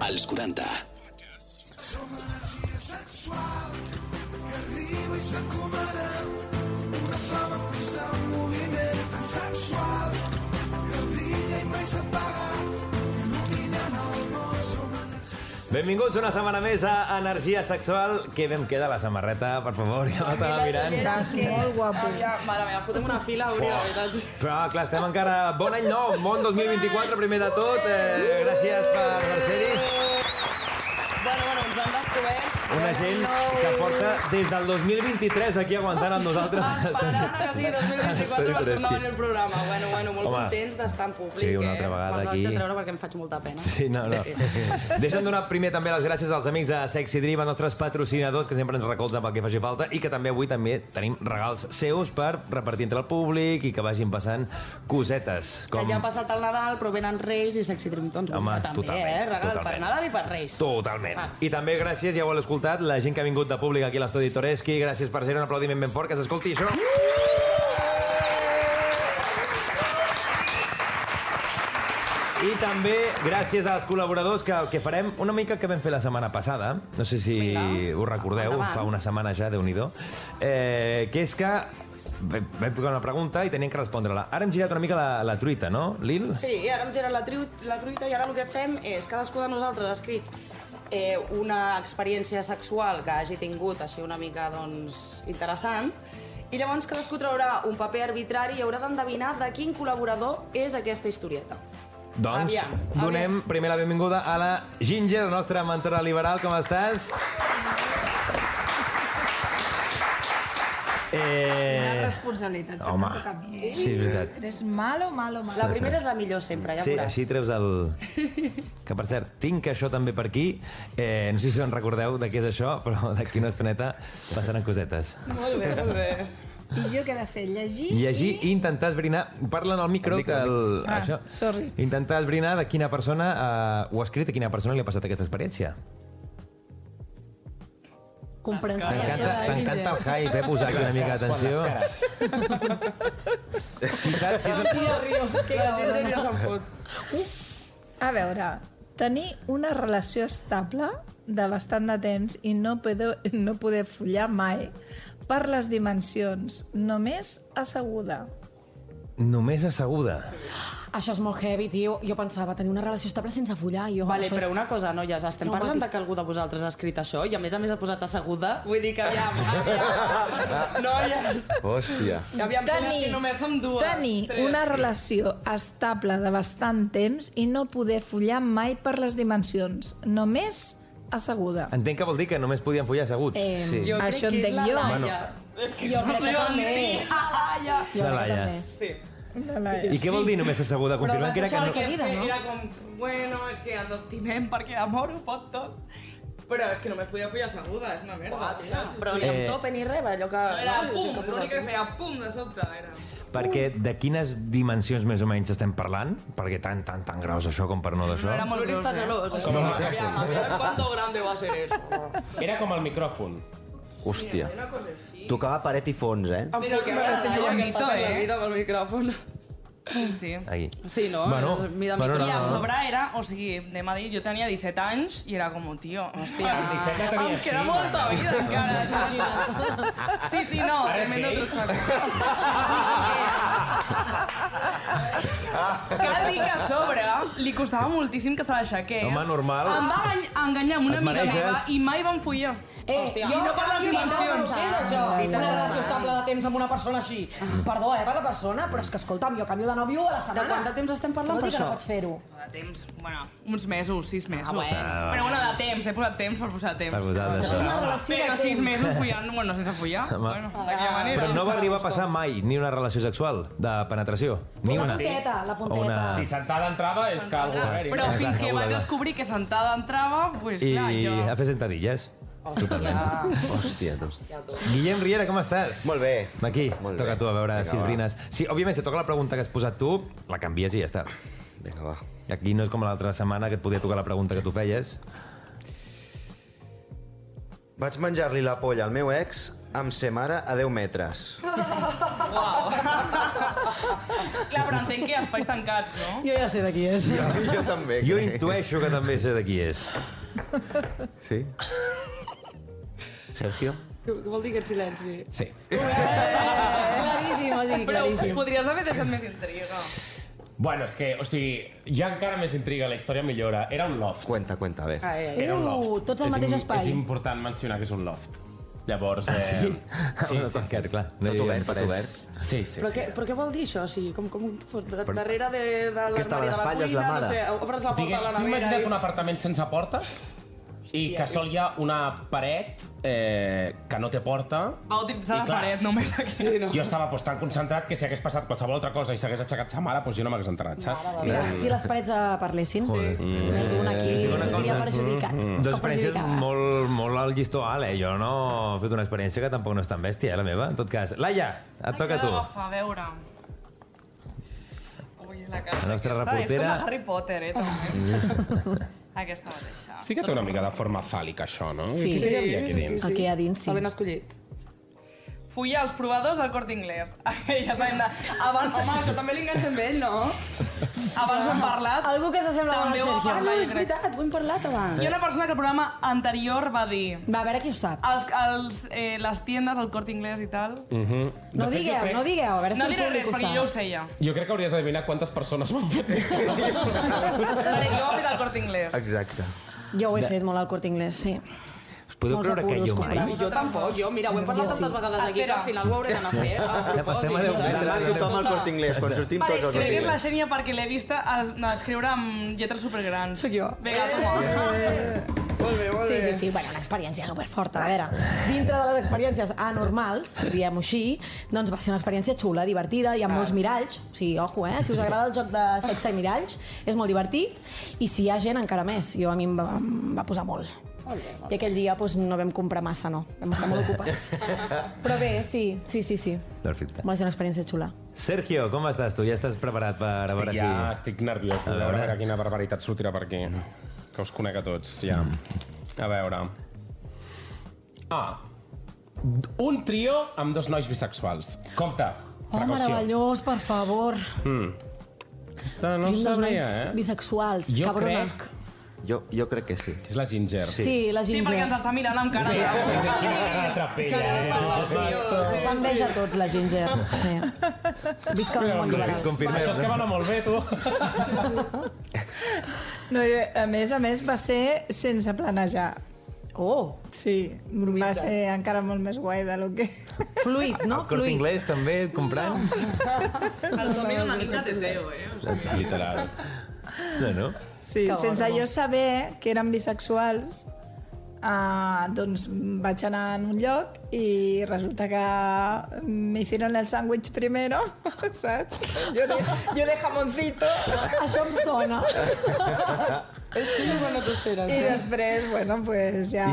als 40. Som energia sexual que arriba i s'encomana. Una flama en constant moviment tan sensual que brilla i mai s'apaga. Il·luminant el món som energia Benvinguts una setmana més a Energia Sexual. Què bé em queda la samarreta, per favor, ja me Mira, l'estava mirant. Estàs que- molt guapo. Aviam, mare meva, fotem una fila, Aurea, la veritat. Però, clar, estem encara... Bon any nou, bon 2024, primer de tot. Eh, gràcies per Mercedes. Bueno, bueno, ens han descobert. Una gent que porta des del 2023 aquí aguantant amb Esperant nosaltres. que sigui 2024 per tornar a venir al programa. Bueno, bueno, molt Home. contents d'estar en públic. Sí, una altra vegada eh? Me'ls aquí. vaig de treure perquè em faig molta pena. Sí, no, no. Deixa'm donar primer també les gràcies als amics de Sexy Dream, els nostres patrocinadors que sempre ens recolzen pel que faci falta i que també avui també tenim regals seus per repartir entre el públic i que vagin passant cosetes. Com... Que ja ha passat el Nadal, però venen Reis i Sexy Dream Tons. Home, també, totalment, eh? Regal per totalment. Nadal i per Reis. Totalment. Ah. I també gràcies, ja ho heu escoltat, la gent que ha vingut de públic aquí a l'estudi Toreski. Gràcies per ser un aplaudiment ben fort, que s'escolti això. I també gràcies als col·laboradors que el que farem una mica que vam fer la setmana passada, no sé si Vinga. ho recordeu, Endavant. fa una setmana ja, déu nhi eh, que és que vam vam posar una pregunta i teníem que respondre-la. Ara hem girat una mica la, la truita, no, Lil? Sí, i ara hem girat la, triu, la truita i ara el que fem és cadascú de nosaltres ha escrit eh, una experiència sexual que hagi tingut així una mica doncs, interessant i llavors cadascú traurà un paper arbitrari i haurà d'endevinar de quin col·laborador és aquesta historieta. Doncs Aviam, aviam. donem primer la benvinguda a la Ginger, la nostra mentora liberal. Com estàs? Una Eh... responsabilitat, home. home. toca a mi, eh? Sí, és veritat. Eres malo, malo, malo. La primera és la millor sempre, ja Sí, veuràs. així treus el... Que, per cert, tinc això també per aquí. Eh, no sé si us en recordeu de què és això, però d'aquí una estoneta passaran cosetes. Molt bé, molt bé. I jo què he de fer? Llegir? Llegir i intentar esbrinar... Parlen al micro que el... Ah, això, sorry. Intentar esbrinar de quina persona eh, ho ha escrit, a quina persona li ha passat aquesta experiència. Comprensió. T'encanta t'encanta el hype, eh? Posar aquí una mica d'atenció. Si saps, si saps- La Ginger ja se'n fot. A veure, tenir una relació estable de bastant de temps i no poder, no poder follar mai per les dimensions, només asseguda. Només asseguda. Això és molt heavy, tio. Jo pensava tenir una relació estable sense follar. Jo, Vale, això però és... una cosa, noies, estem No, parlant Mati. de que algú de vosaltres ha escrit això i a més a més ha posat asseguda? Vull dir que aviam, aviam, noies... Hòstia. Que aviam, tenir, que només som dues. tenir Tres. una relació estable de bastant temps i no poder follar mai per les dimensions, només asseguda. Entenc que vol dir que només podien follar asseguts. Eh, sí. Jo crec Això que és entenc la jo. Laia. Bueno. És que Jo no crec que sé on també. dir la Laia. Jo La crec que Laia. també. Sí. I què vol dir només asseguda? Confirmem que era que això no... que- Seguida, no? Era com, bueno, és que ens estimem perquè amor ho pot tot. Però és que només podia fer asseguda, és una merda. Però ni Eh. amb tope ni res, allò que... Era no, pum, sí que l'únic que posat- feia pum de sobte era. Perquè de quines dimensions més o menys estem parlant? Perquè tan, tan, tan gros això com per no d'això. era molt Luri gros, està eh? gelós, eh? Com- Aviam, aviam, ¿cuánto grande va a ser eso? Era com el micròfon. Hòstia. Una cosa així. Tocava paret i fons, eh? Però que Però m'agrada, te Laia, que llenço, està fent la eh? vida amb el micròfon. Sí. Aquí. Sí, no? Bueno, És mida bueno, micro. I a no, no. sobre era, o sigui, de Madrid, jo tenia 17 anys i era com, tio, hòstia, El 17 que tenia em queda cinc, molta ara. vida encara, saps? Sí, sí, no, Ara és tremendo gay? trotxaco. Cal dir que a sobre li costava moltíssim que se la aixequés. Home, normal. Em va engany- enganyar amb una Et amiga mareges? meva i mai vam follar. Eh, Hòstia. jo I no parla amb jo dimensions. no sé d'això. Dites Una relació de estable de temps amb una persona així. Perdó, eh, per la persona, però és que, escolta'm, jo canvio de nòvio a la setmana. quant de temps estem parlant Vol per dir que això? No pots fer-ho. De temps, bueno, uns mesos, sis mesos. Ah, bueno. Però bueno, de temps, he posat temps per posar temps. Per posar Això és d'això. una relació Però de sis temps. mesos follant, bueno, sense follar. Home. Bueno, d'aquella manera. Però no va arribar a passar mai ni una relació sexual de penetració. Ni La una. punteta, la punteta. Una- Sí. Si sentada entrava és que algú va haver-hi. Però Clar, fins que clar, vaig clar. descobrir que sentada entrava, pues, I clar, jo... a fer sentadilles. Hòstia, tu. Guillem Riera, com estàs? Molt bé. Aquí, Molt toca bé. tu a veure Vinga, si va. esbrines. Sí, òbviament, si et toca la pregunta que has posat tu, la canvies i ja està. Vinga, va. Aquí no és com l'altra setmana que et podia tocar la pregunta que tu feies. Vaig menjar-li la polla al meu ex amb sa mare a 10 metres. Uau. clar, ja, però entenc que espais tancats, no? Jo ja sé de qui és. Jo també, Jo crec. intueixo que també sé de qui és. Sí. Sergio? Què què vol dir aquest silenci? Sí. Claríssim, o sigui, Però ho claríssim. podries haver deixat més intriga. Bueno, és que, o sigui, ja encara més intriga, la història millora. Era un loft. Cuenta, cuenta, a ver. Ai, ai. Era un loft. Uh, tots al És mateix im- espai. És important mencionar que és un loft. Llavors, eh... Sí? Ah, Sí, Sí, sí, sí, sí. Clar, no hi Tot havia obert, tot parets. obert. sí, sí. Però, què, però què vol dir això? O sigui, com, com fos de, darrere de, de Que estava l'armari de la d'espatlles, cuina, la mare. no sé, obres la porta Digue, a la tu nevera imagina't i... un apartament sense portes i que sol hi ha una paret eh, que no té porta. Va utilitzar I la clar, paret només aquí. Sí, no. Jo estava pues, tan concentrat que si hagués passat qualsevol altra cosa i s'hagués aixecat sa mare, pues, jo no m'hagués enterat, saps? Mira, si les parets eh, parlessin, més d'un aquí Sí, sí, una sentiria cosa. perjudicat. Mm. Dos O experiències perjudicada. molt, molt al llistó alt, eh? Jo no he fet una experiència que tampoc no és tan bèstia, eh, la meva. En tot cas, Laia, et toca a tu. Agafa, a veure. Ui, la casa La nostra aquesta. reportera- És com de Harry Potter, eh, també. aquesta mateixa. Sí que té una mica de forma fàl·lica, això, no? Sí. Què hi havia aquí dins? Aquí a dins, sí. Està ben escollit. Fui als provadors al Corte Inglés. ja sabem de... Abans, Home, això també li enganxa amb ell, no? abans hem parlat. Algú que s'assembla molt També al ho vam Sergio. Ah, parlar, no, jo és crec. veritat, ho hem parlat abans. Hi ha una persona que el programa anterior va dir... Va, a veure qui ho sap. Els, els, eh, les tiendes, el Corte Inglés i tal... Mm. No fet, jo digueu, crec- no digueu, a veure si No el diré públic ho res, perquè sap. jo ho sé ja. Jo crec que hauries d'adivinar quantes persones m'han fet. Vale, jo vaig al Corte Inglés. Exacte. Jo ho he fet molt al Corte Inglés, sí. Us podeu Molts creure que apuros jo mai... comprats. Jo tampoc, jo, mira, ho hem parlat tantes vegades aquí que Espera. al final ho hauré d'anar a fer estem a a propòsit. deu saps? metres. Demà tothom al Corte Inglés, quan sortim Vale, tots al si Corte vegués la Inglés. Xènia perquè l'he vista es- no, escriure amb lletres supergrans. Sóc jo. Vinga, toma. Sí, sí, sí. Bueno, una experiència superforta. A veure, dintre de les experiències anormals, diguem-ho així, doncs va ser una experiència xula, divertida, hi ha Ah. molts miralls. O sigui, ojo, eh? Si us agrada el joc de sexe i miralls, és molt divertit. I si hi ha gent, encara més. Jo a mi em va, em va posar molt. I aquell dia doncs, no vam comprar massa, no. Vam estar molt ocupats. Però bé, sí, sí, sí, sí. Perfecte. Va ser una experiència xula. Sergio, com estàs tu? Ja estàs preparat per a veure Estic, si... ja, estic nerviós, a veure, a veure quina barbaritat sortirà per aquí. Que us conec a tots, ja. Mm. A veure... Ah, un trio amb dos nois bisexuals. Compte, Oh, meravellós, per favor. Aquesta no ho Tenim dos sabia, nois eh? bisexuals, Jo cabrona. crec Jo, jo crec que sí. que és la Ginger. Sí. Sí, la Sí, Ginger. perquè ens està mirant amb cara de... Ah, Es fa enveja a tots, la Ginger. Sí. Visca un món liberal. Confirmeu. Això és que va anar molt bé, tu. No, i a més a més va ser sense planejar. Oh, Sí, va ser encara molt més guai de lo que... fluid, no? El Corte Fluid. Inglés també comprant? El som era una mica teteo, eh? Literal. No, no. Sí, Que bo, sense que bo. jo saber que eren bisexuals, uh, doncs vaig anar en un lloc i resulta que me hicieron el sándwich primero, saps? Jo de, jo de jamoncito Això em sona. És xulo quan no t'ho esperes. i després, bueno, pues ja...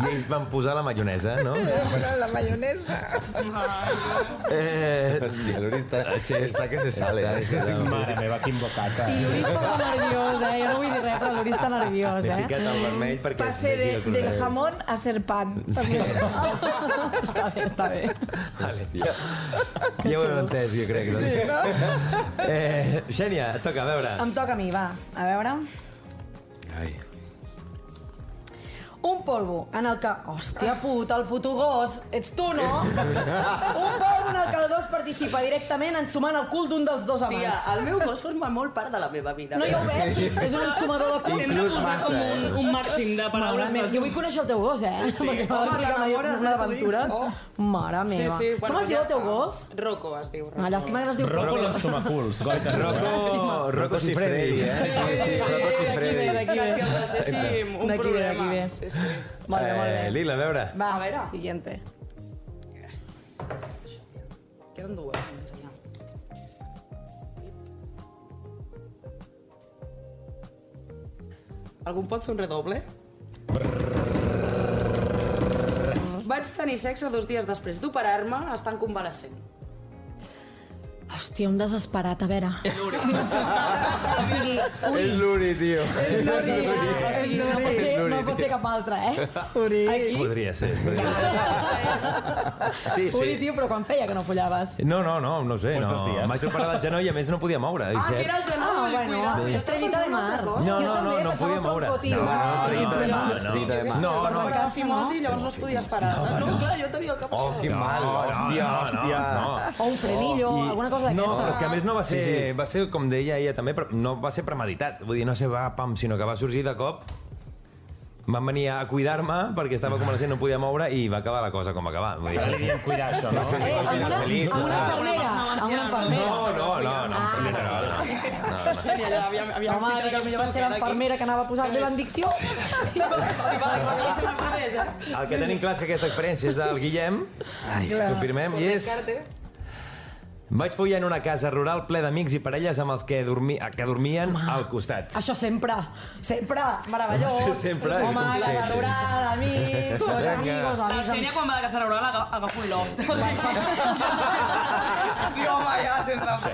I, I ells van posar la maionesa, no? Bueno, la mayonesa. Eh, El dialori està, està que se sale. eh? Mare meva, quin bocata. I l'Uri estava nerviós, eh? Jo no vull dir res, però l'Uri està nerviós, M'he eh? ficat al vermell perquè... Passe de, del jamón a ser pan. També. Està bé, està bé. Hòstia. Ja ho hem entès, jo crec. Sí, no? Eh, Xènia, et toca, a veure. Em toca a mi, va. A veure... Ai. Un polvo en el que... Hòstia puta, el puto gos! Ets tu, no? Un polvo en el que el gos participa directament ensumant el cul d'un dels dos amants. Tia, el meu gos forma molt part de la meva vida. No, ja ho veig. És un ensumador de cul. Inclús massa, eh? Un màxim de Mare paraules. meva, jo vull conèixer el teu gos, eh? Sí. Perquè m'ha d'explicar mai t'enamores, una ja t'ho dic. aventura. Mare meva. Com es diu el teu gos? Rocco es diu. Rocco. Ah, Llàstima que no es diu Rocco l'ensumaculs, goita. Rocco, Rocco Cifredi, Cifredi, eh? eh? Sí, sí, Rocco Cifredi. D'aquí Que si ve. el deixéssim un D'aquí ve, d'aquí ve. problema. Sí, sí. Molt bé, molt Eh, bé. Lila, a veure. Va, A veure. siguiente. Queden dues. només, mira. Algú em pot fer un redoble? Vaig tenir sexe dos dies després d'operar-me, estant convalescent. Hòstia, un desesperat, a veure. O sigui, ui. És l'Uri, tio. És l'Uri, és No pot ser, no pot ser cap altre, eh? Uri. Podria ser. Podria ser. Sí, sí. Uri, tio, però quan feia que no follaves? No, no, no, no sé. No. Em vaig trobar del genoll i a més no podia moure. Ah, el genoll, ah, bueno, cuidado. és trellita de mar. No, no, no, no podia moure. No, no, trellita de mar, no. No, no. Perquè fimosi, llavors no es podia esperar. saps? No, clar, jo tenia el cap Oh, que mal, hòstia, hòstia. O un frenillo, alguna cosa No, però és que a d'aquesta. més no va ser, sí, sí. va ser com deia ella també, però no va ser premeditat. Vull dir, no sé, va, pam, sinó que va sorgir de cop van venir a cuidar-me perquè estava començant, no podia moure i va acabar la cosa com va acabar. Vull dir, Li diem cuidar això, no? Eh, Al final, amb feliç, amb una no? infermera, amb una Ah. infermera. No, no, no, no, no, no, no. Sí, allà, aviam, aviam Home, si que potser traiem va sucre ser d'aquí. l'infermera que anava a posar-li l'endicció. El que tenim clar és que aquesta experiència és del Guillem, Ai, Clar. ho firmem, i és... Vaig follar en una casa rural ple d'amics i parelles amb els que, dormi... eh, que dormien al costat. Això sempre, sempre, meravellós. Sí, sempre, és Home, com- la sí, sí. valorada, amics, Sí, molts sí. amigos, La amics... Xènia, quan va de casa rural, aga- agafa un loft. O sigui, Diu, home, ja, sense...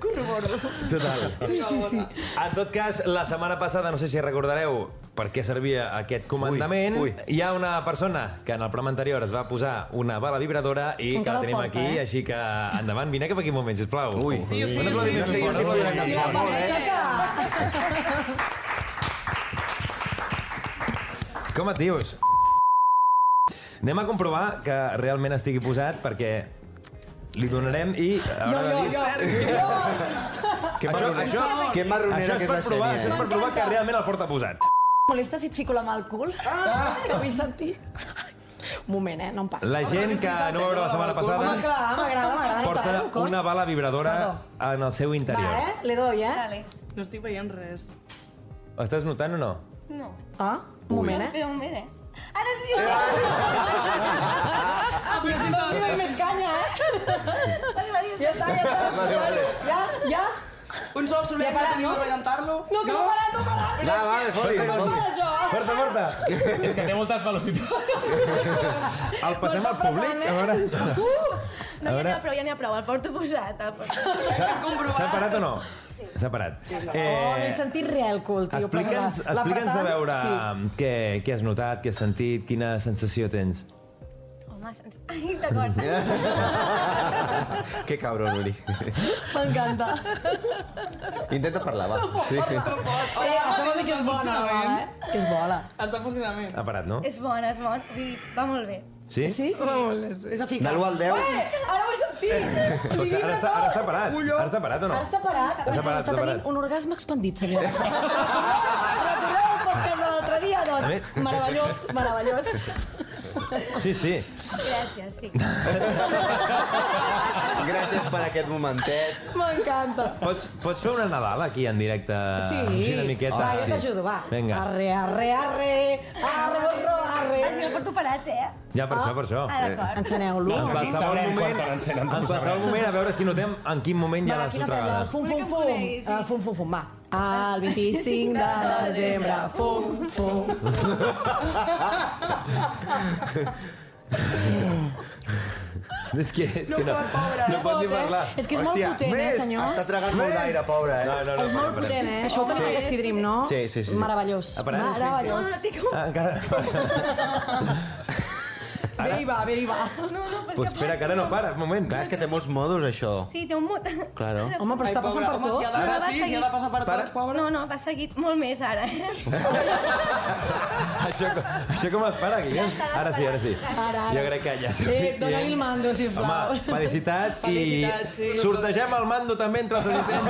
Corroboro. Total. Sí, sí. En tot cas, la setmana passada, no sé si recordareu per què servia aquest comandament, Ui, ui. hi ha una persona que en el programa anterior es va posar una bala vibradora i que Encara la ho tenim porta, aquí, eh? així que endavant, vine cap aquí un moment, sisplau. Ui. Sí, sí, Un sí, aplaudiment sí, sí, fort, sí, un sí, aplaudiment. sí, sí, Molt, eh? Com et dius? Anem a comprovar que realment estigui posat perquè li donarem i... Jo, haurà de jo, dir- jo. Que Això, marronera, això, que marronera això és que és la eh. per provar, això Xènia. és per provar que realment el porta posat. Molesta si et fico la mà al cul? Ah! És que vull sentir... Un moment, eh? No em passa. La gent que no veurà la setmana Home, passada clar, m'agrada, m'agrada. porta notar-ho, coi. una bala vibradora en el seu Va, interior. eh? Le doy, eh? Vale. No estic veient res. Ho estàs notant o no? No. Ah, un moment, eh? Però un moment, eh? Ara sí! Ara Ah, però si no li doy més canya, eh? Ja està, ja està. Ja, ja. Un sol solet Ja que parat, teniu no? de recantar-lo. No, que no para, no para. Va, va, foli, No foli. para, jo. eh. Porta, porta! És que té moltes velocitats. El passem al públic, a veure... eh? Uh! No, ja n'hi ha prou, ja n'hi ha prou. El porto posat. El porto. S'ha parat o no? S'ha parat. Oh, m'he sentit real cool, tio. Eh, Explica'ns perdona. La explica'ns a apretant, veure Sí. què, què has notat, què has sentit, quina sensació tens. Home, sens... Ai, d'acord. Que cabron, Uri. M'encanta. Intenta parlar, va. Sí. Eh, això vol dir que és bona, la mama, eh? Que és bona. Està en funcionament. Ha parat, no? És bon, és bon. Vull dir, va molt bé. Sí? Sí? És eficaç. De l'1 al 10. Eh, ara ho he sentit! O Li sigui, Doncs ara, vibra està, ara està tot! parat. Ara està parat o no? Ara està parat. Està parat, està està tenint parat. un orgasme expandit, senyor. Recordeu el podcast de l'altre dia, A doncs? més- Meravellós, meravellós. Sí, sí. Gràcies, sí. Gràcies per aquest momentet. M'encanta. Pots, pots fer una Nadal aquí en directe? Així Ah, una miqueta. Va, jo t'ajudo, va. Vinga. Arre, arre, arre, arre, borró, arre. El meu porto parat, eh? Ja, per això, per això. Ah, d'acord. Enceneu-lo. No, En Aquí qualsevol sabrem quan moment, te l'encenen, en ho qualsevol sabrem. moment, a veure si notem en quin moment ja Va, l'has quina fem? La sufragada. Fum, fum, fum. Sí. El fum, fum, fum, va. El 25 de desembre. Fum, fum. És que, és que no, no pot Pot, ni eh? parlar. És que és molt potent, eh, senyor? Està tragant molt d'aire, pobra, eh? No, no, no. És molt potent, eh? Això ho tenim a Sexy Dream, no? Sí, sí, sí, sí. Meravellós. A parar? No, Meravellós. no, tinc un... Ah, encara... Ah, Bé hi va, bé hi va. No, no, però és Pues que... espera, que ara no para, un moment. eh? Clar, és que té molts modos, això. Sí, té un mut. Claro. Home, però està passant per Home, si ha tot. de, Ara va Ah, sí, si ha de passar per tots, pobre. No, no, va seguit molt més ara. Això, com- això com es para, Guillem? Ara sí, ara sí. Ara, ara. Jo crec que ja és Eh, suficient. dona-li el mando, sisplau. Home, felicitats, Felicitats, i sí. sortegem el mando també entre els assistents.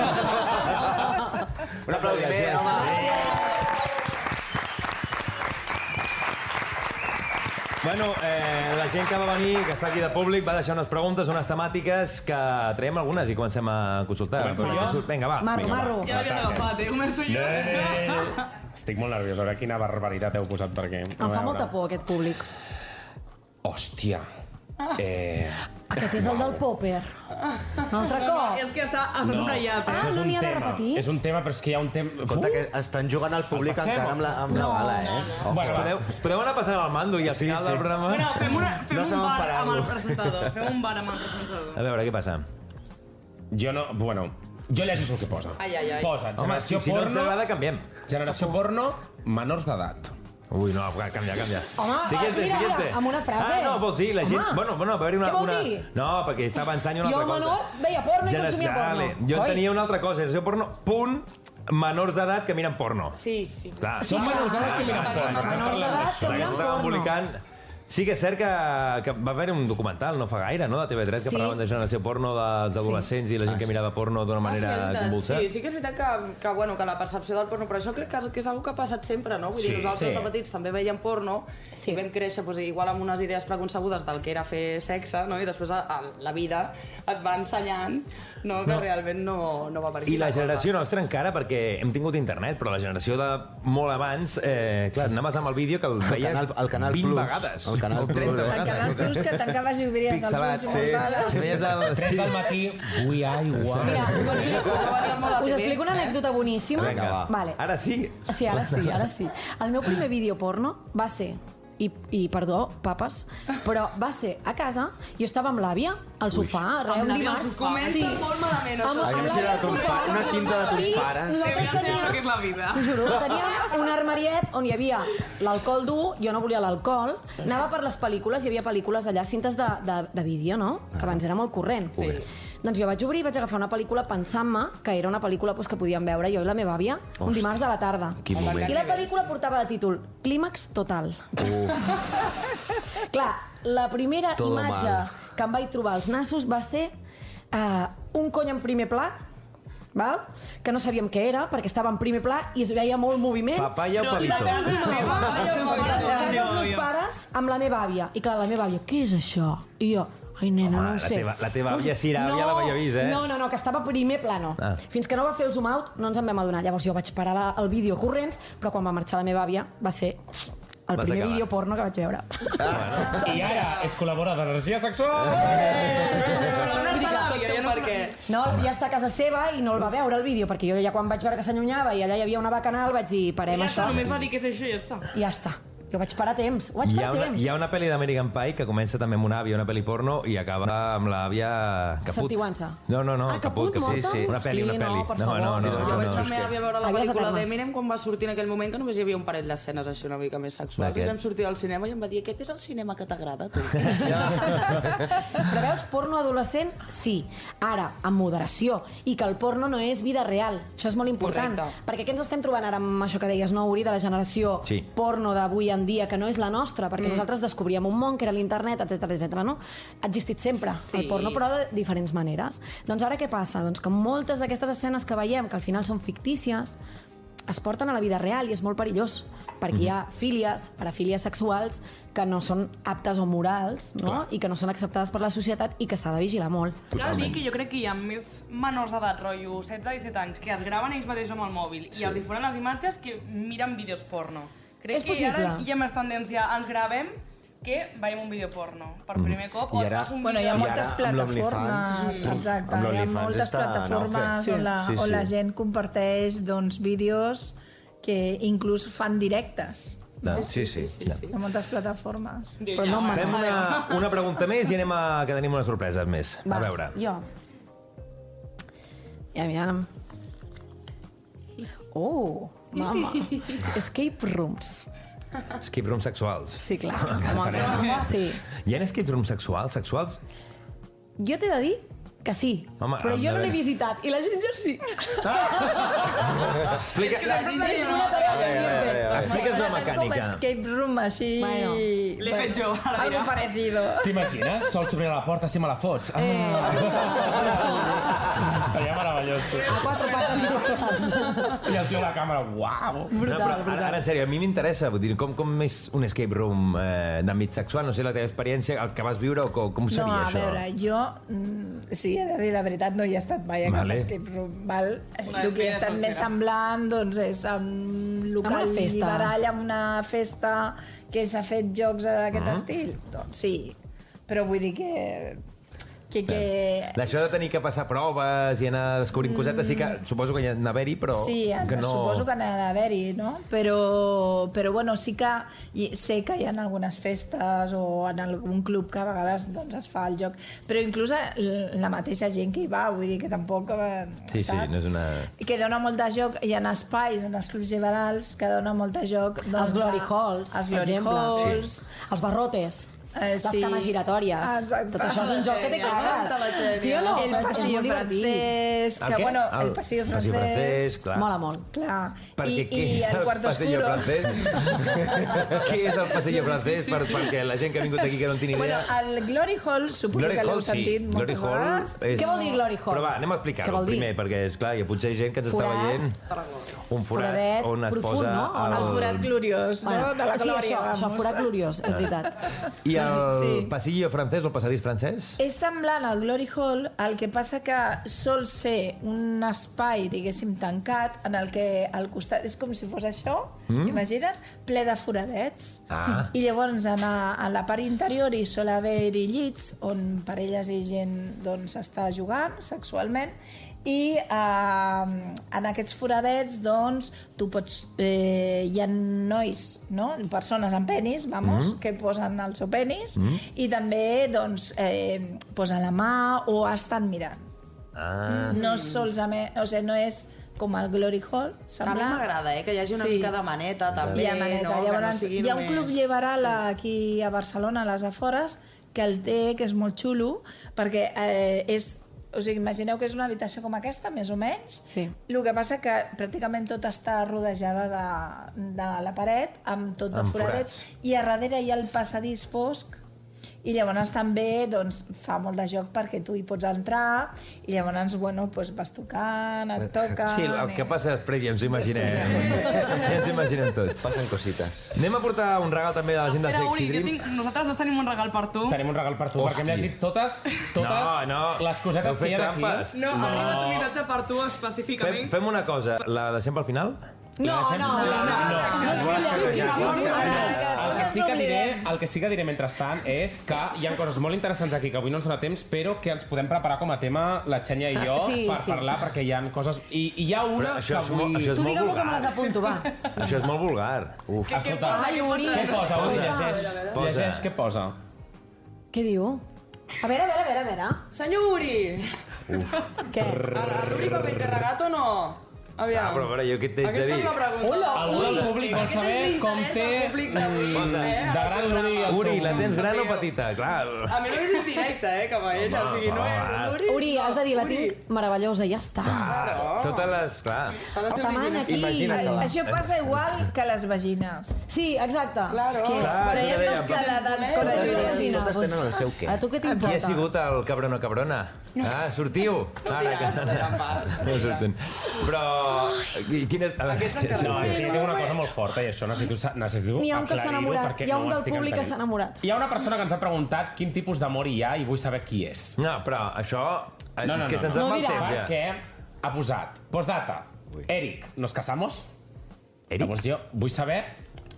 Un aplaudiment, home. bueno, eh, la gent que va venir, que està aquí de públic, va deixar unes preguntes, unes temàtiques, que traiem algunes i comencem a consultar. Començo Perquè jo? surt- Vinga, va. Marro, vinga, va. marro. Ja l'havia agafat, eh? Començo jo. Eh, Estic molt nerviós, a veure quina barbaritat heu posat per aquí. A Em fa veure. molta por, aquest públic. Hòstia. Eh, Aquest és el del Popper. Un altre cop. És que està, està subratllat, eh? això Ah, és no un n'hi ha de tema. repetits? És un tema, però és que hi ha un tema... Compte que estan jugant al públic El passem, encara amb la, amb la bala, eh? Oh, Us Bueno, va. podeu, us podeu anar passant el mando i al Sí, final sí. del programa... Bueno, fem, una, fem No un saben bar amb el parar-lo. presentador. Fem un bar amb el presentador. A veure, què passa? Jo no... Bueno, jo llegeixo el que posa. Ai, ai, ai. Posa, Home, generació si- si no porno... ens agrada, canviem. Generació porno, menors d'edat. Ui, no, canvia, canvia. Home, eh, siguiente, mira, siguiente. amb una frase. Ah, no, vols dir, la gent... Home. Bueno, bueno, va haver una... Què vol una... dir? No, perquè està avançant una Jo, altra cosa. menor, veia porno i Genes- consumia Dale. porno. Jo en Coi. tenia una altra cosa, generació porno, punt, menors d'edat que miren porno. Sí, sí. Clar, Sí, clar. Menors d'edat que miren S'estava porno. embolicant... Sí que és cert que, que va haver un documental no fa gaire, no?, de TV3, que Sí. parlaven de generació porno dels adolescents i la gent que mirava porno d'una Ah, sí, manera és veritat. convulsa. sí, sí que és veritat que, que, bueno, que la percepció del porno, però això crec que, que és una que ha passat sempre, no? Vull dir, Sí, nosaltres sí. de petits també veiem porno sí. i vam créixer doncs, igual amb unes idees preconcebudes del que era fer sexe, no? I després a, a, la vida et va ensenyant no? que No. no. realment no, no va per aquí. I la cosa. generació nostra encara, perquè hem tingut internet, però la generació de molt abans, eh, clar, anaves amb el vídeo que el veies canal- el canal 20 Plus. vegades. El canal o 30 Plus. El vegades. canal Plus que tancaves i obries els Pixelat, ulls i les ales. Si veies del... Tres del matí, vull aigua. Mira, us explico, molt us la explico una anècdota boníssima. Vinga, va. Vale. Ara sí. Sí, ara sí, ara sí. El meu primer vídeo porno va ser i, i perdó, papes, però va ser a casa, jo estava amb l'àvia al sofà, re, Amb un l'àvia al dimarts. sofà. Comença molt malament, això. amb Aviam si l'àvia era de al tons sofà. pares, una cinta de tons I pares. Nosaltres teníem, és la vida. T'ho juro, tenia un armariet on hi havia l'alcohol dur, jo no volia l'alcohol, anava per les pel·lícules, hi havia pel·lícules allà, cintes de, de, de vídeo, no? Que abans era molt corrent. Sí. Doncs jo vaig obrir i vaig agafar una pel·lícula pensant-me que era una pel·lícula pues, que podíem veure jo i la meva àvia un dimarts de la tarda. Quin moment. I la pel·lícula portava de títol Clímax total. Clar, la primera Todo imatge mal. que em vaig trobar als nassos va ser uh, un cony en primer pla, val? que no sabíem què era, perquè estava en primer pla i es veia molt moviment. Papaya o I la palito. casa meva, casa dels meus pares, amb la meva àvia. I clar, la meva àvia, què és això? I jo, ai, nena, Home, no ho la sé. teva- la teva àvia, si era àvia, la veia vist, eh? No, no, no, que estava a primer plano. Ah. Ah. Fins que no va fer el zoom out, no ens en vam adonar. Llavors jo vaig parar la, el vídeo corrents, però quan va marxar la meva àvia va ser el Vas primer acabar. vídeo porno que vaig veure. I ara és col·laboradora d'energia sexual. Vull dir que tot té un perquè... No, ja està a casa seva i no el va veure el vídeo, perquè jo ja quan vaig veure que s'allunyava i allà hi havia una bacanal vaig dir, parem Ja això. està, només va dir que és això i ja està. I ja està. Jo vaig parar a temps, ho Hi vaig ha, parar una, a temps. hi ha una pel·li d'American Pie que comença també amb una àvia, una pel·li porno, i acaba amb l'àvia Caput. Santiguança. No, no, no, Ah, Caput, Caput. morta? Una pel·li, una Hosti, no, pel·li. per no, no, favor. no, Jo no, vaig no. amb la meva àvia a veure la Àvies pel·lícula de eternes. Eminem quan va sortir en aquell moment que només hi havia un parell d'escenes així una mica més sexuals. D'aquest. I vam sortir del cinema i em va dir aquest és el cinema que t'agrada, tu. Però veus, porno adolescent, sí. Ara, amb moderació. I que el porno no és vida real. Això és molt important. Correcte. Perquè què ens estem trobant ara amb això que deies, no, Uri, de la generació Sí. porno d'avui en dia, que no és la nostra, perquè nosaltres descobríem un món que era l'internet, etc etc. no? Ha existit sempre Sí. el porno, però de diferents maneres. Doncs ara què passa? Doncs que moltes d'aquestes escenes que veiem, que al final són fictícies, es porten a la vida real i és molt perillós, perquè hi ha fílies, parafílies sexuals, que no són aptes o morals, no? i que no són acceptades per la societat i que s'ha de vigilar molt. Cal dir que jo crec que hi ha més menors d'edat, rotllo 16-17 anys, que es graven ells mateixos amb el mòbil i els difonen les imatges que miren vídeos porno. Crec És que ara possible. hi ha més tendència, ens gravem que veiem un vídeo porno per primer cop I o ara- fas un Bueno, hi vídeo... ha I moltes ara, amb l'OnlyFans, plataformes, sí. exacte, Amb hi ha l'OnlyFans moltes està en plataformes auge. on la, Sí, sí. on la gent comparteix doncs, vídeos que inclús fan directes. No, sí, sí. Hi ha moltes plataformes. Diu, Però ja, no Fem m'agrada. una, una pregunta més i anem a... que tenim unes sorpreses més. A veure. Jo. I aviam. Oh, mama. Escape rooms. Escape rooms sexuals. Sí, clar. Home, sí. Hi ha escape rooms sexuals? Sexuals? Jo t'he de dir que sí, Home, però a jo no l'he veure. visitat. I la Ginger sí. Explica, La Ginger és una tarea pendiente. explica'ns la Com mecànica. escape room, així... Bueno, l'he fet jo, ara Algo ja. parecido. T'imagines? Sols obrir la porta si me la fots. Ah. Eh. Seria meravellós. tu. A quatre pates i passats. I el tio a la càmera, uau! no, però ara, ara, en sèrio, a mi m'interessa, vull dir, com, com és un escape room eh, d'àmbit sexual? No sé la teva experiència, el que vas viure o com, com No, seria a això? veure, eh, jo, mm, sí, he de dir la veritat, no hi he estat mai a Vale. cap escape room. Val? Una El que he despedida estat més soltera. semblant doncs, és un local Amb una festa. liberal, amb una festa Mm. que s'ha fet jocs d'aquest estil. Doncs sí, però vull dir que Que, que... D'això de tenir que passar proves i anar descobrint cosetes, sí que suposo que hi ha d'haver-hi, però Mm. sí, eh, que no... suposo que n'ha d'haver-hi, no? Però, però bueno, sí que hi- sé que hi ha algunes festes o en algun club que a vegades doncs, es fa el joc, però inclús l- la mateixa gent que hi va, vull dir que tampoc... eh, Sí, sí, saps? no és una... que dona molt de joc, hi ha espais en els clubs liberals que dona molt de joc doncs, Els Glory a- Halls, als per Glory exemple. Halls Sí. Els barrotes. Eh, les cames giratòries. Exacte. Tot això és un joc que té cares. Sí o no? El És passillo molt divertit. francès, El que, què? bueno, el, El passillo passillo francès... francès, clar. Mola molt. Clar. Perquè I, què i és el el quarto passillo oscuro. francès? què és el passillo francès? Per, perquè la gent que ha vingut aquí que no en tinc Bueno, idea... el Glory Hall, suposo Glory que l'heu Hall, sí. sentit Glory moltes Hall vegades. és- Què vol dir Glory Hall? Però va, anem a Què explicar-ho vol dir? primer, perquè, és clar, hi ha potser gent que ens està Forat. veient un forat, Foradet on es profund, posa... no? El forat gloriós, no? De la glòria, sí, això, això, vamos. forat gloriós, és veritat. I el Sí. passillo francès, o el passadís francès? És semblant al Glory Hall, el que passa que sol ser un espai, diguéssim, tancat, en el que al costat és com si fos això, Mm. mm? imagina't, ple de foradets. Ah. I llavors en, a, en la part interior hi sol haver-hi llits on parelles i gent doncs, està jugant sexualment i eh, en aquests foradets doncs, tu pots eh, hi ha nois, no? persones amb penis, vamos, Mm. Mhm. que posen el seu penis Mhm. i també doncs, eh, posen la mà o estan mirant. Ah. No solament, o sigui, no és com el Glory Hall, A mi sembla. m'agrada, eh, que hi hagi una Sí. mica de maneta, també. Hi ha maneta. no? Que Llavors, no sigui hi ha un només- club liberal aquí a Barcelona, a les afores, que el té, que és molt xulo, perquè eh, és... O sigui, imagineu que és una habitació com aquesta, més o menys. Sí. El que passa que pràcticament tot està rodejada de, de la paret, amb tot de Amb foradets, i a darrere hi ha el passadís fosc, i llavors també doncs, fa molt de joc perquè tu hi pots entrar i llavors bueno, doncs vas tocant, et toquen... Eh, eh, Sí, el que passa després ja ens ho imaginem. ja ens ho imaginem tots. Passen cosites. Anem a portar un regal també de la gent de Espera, Uri, Sexy jo Dream. tinc... nosaltres dos tenim un regal per tu. Tenim un regal per tu, perquè hem llegit totes, totes No, no, les heu cosetes fet que hi ha aquí. trampes. No, No. ha arribat un missatge per tu Fem, específicament. fem una cosa, la deixem pel final? No, no, no, El que, sí que diré, el que sí que diré mentrestant és que hi ha coses molt interessants aquí que avui no ens dona temps, però que ens podem preparar com a tema la Xènia i jo Sí, per sí. parlar, perquè hi ha coses... I, i hi ha una Però això és que avui... molt- això és Tu digue'm que me les apunto, va. Això és molt vulgar. Uf. Escolta, Ai, Uri. què posa? Escolta. Uri, llegeix, Posa. llegeix, què posa? Què diu? A veure, a veure, a veure, a veure. Senyor Uri! Què? L'Uri va ben carregat o no? Aviam. Ah, però a veure, jo què t'haig de dir? Aquesta és la pregunta. Algú del públic vol saber com té... eh, Posa. De gran l'Uri i el seu Uri, la tens nom. gran o petita? Clar. A mi no és indirecte, eh, cap a ell. Home, o sigui, no és... va. Uri, Uri, has de dir, la tinc meravellosa, ja està. Totes les... Clar. S'ha de ser Tama'n original. aquí. Imagina't-la. Això passa igual que les vagines. Sí, exacte. Claro. És que- Clar, jo Traiem deia, los cadàvers con Totes- les totes vagines. tenen el seu què. A tu Qui què ha t'importa? sigut el cabron o cabrona? Ah, sortiu! Ara, que... No surten. Però... i Quin és... Aquests No, és que jo tinc una cosa molt forta i això necessito, necessito N'hi ha un que s'ha aclarir-ho enamorat. perquè Hi ha un no del estic públic que entenent. s'ha enamorat. Hi ha una persona que ens ha preguntat quin tipus d'amor hi ha i vull saber qui és. No, però això... eh, No, no, no. que se'ns en no. va el temps, ja. Perquè ha posat, postdata, Eric, nos casamos? Eric? Llavors jo vull saber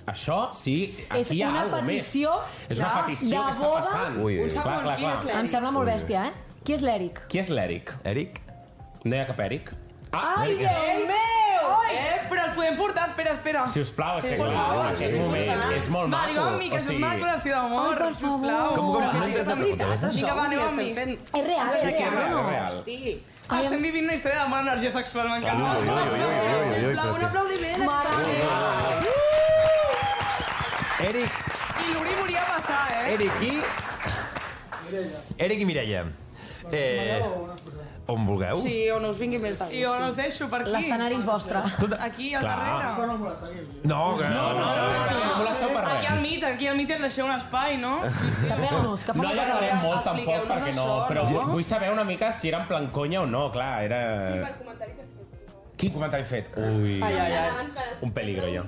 això, si aquí És hi ha una alguna petició més. És una de- de petició que està boda. passant. Ui, Eh, ui, ui. Clar, clar, clar. Em sembla molt bèstia, eh? Qui és l'Eric? Qui és l'Eric? Eric? No hi ha cap Eric? Ah, Ai, Eric és- Déu meu! Ai. Eh, però els podem portar, espera, espera. Si us plau, és Sí, que és sí, molt sí, maco, sí, és sí, molt sí, maco, sí. és molt Mari, maco. Naomi, o que això és sigui- una declaració d'amor, Ai, per sisplau. favor. Com, com, no entens la Ai, és veritat, pregunta, eh? Vinga, va, Això, Naomi. estem fent- És real, Sí, és sí, real, no? Hosti. Estem vivint una història de molt energia sexual, m'encanta. Ui, ui, ui, ui, ui, ui, Sisplau, però un què- aplaudiment. Eric, I l'Uri volia passar, eh? Eric i... Eric i Mireia. Eh, on vulgueu? Sí, on us vingui més de gust. I on us deixo, per aquí. L'escenari és vostre. Aquí, al Clar. darrere. No, que no, no. Aquí al mig, aquí al mig ens deixeu un espai, no? Tapeu-nos, que fa No hi molta calor. acabarem molt tampoc, Expliqueu-nos perquè no, això, però no? vull- vull saber una mica si era en plan conya o no, clar, era... Sí, per comentari que has fet. Quin comentari fet? Ui, Ai, ai, ai. un peligro, jo.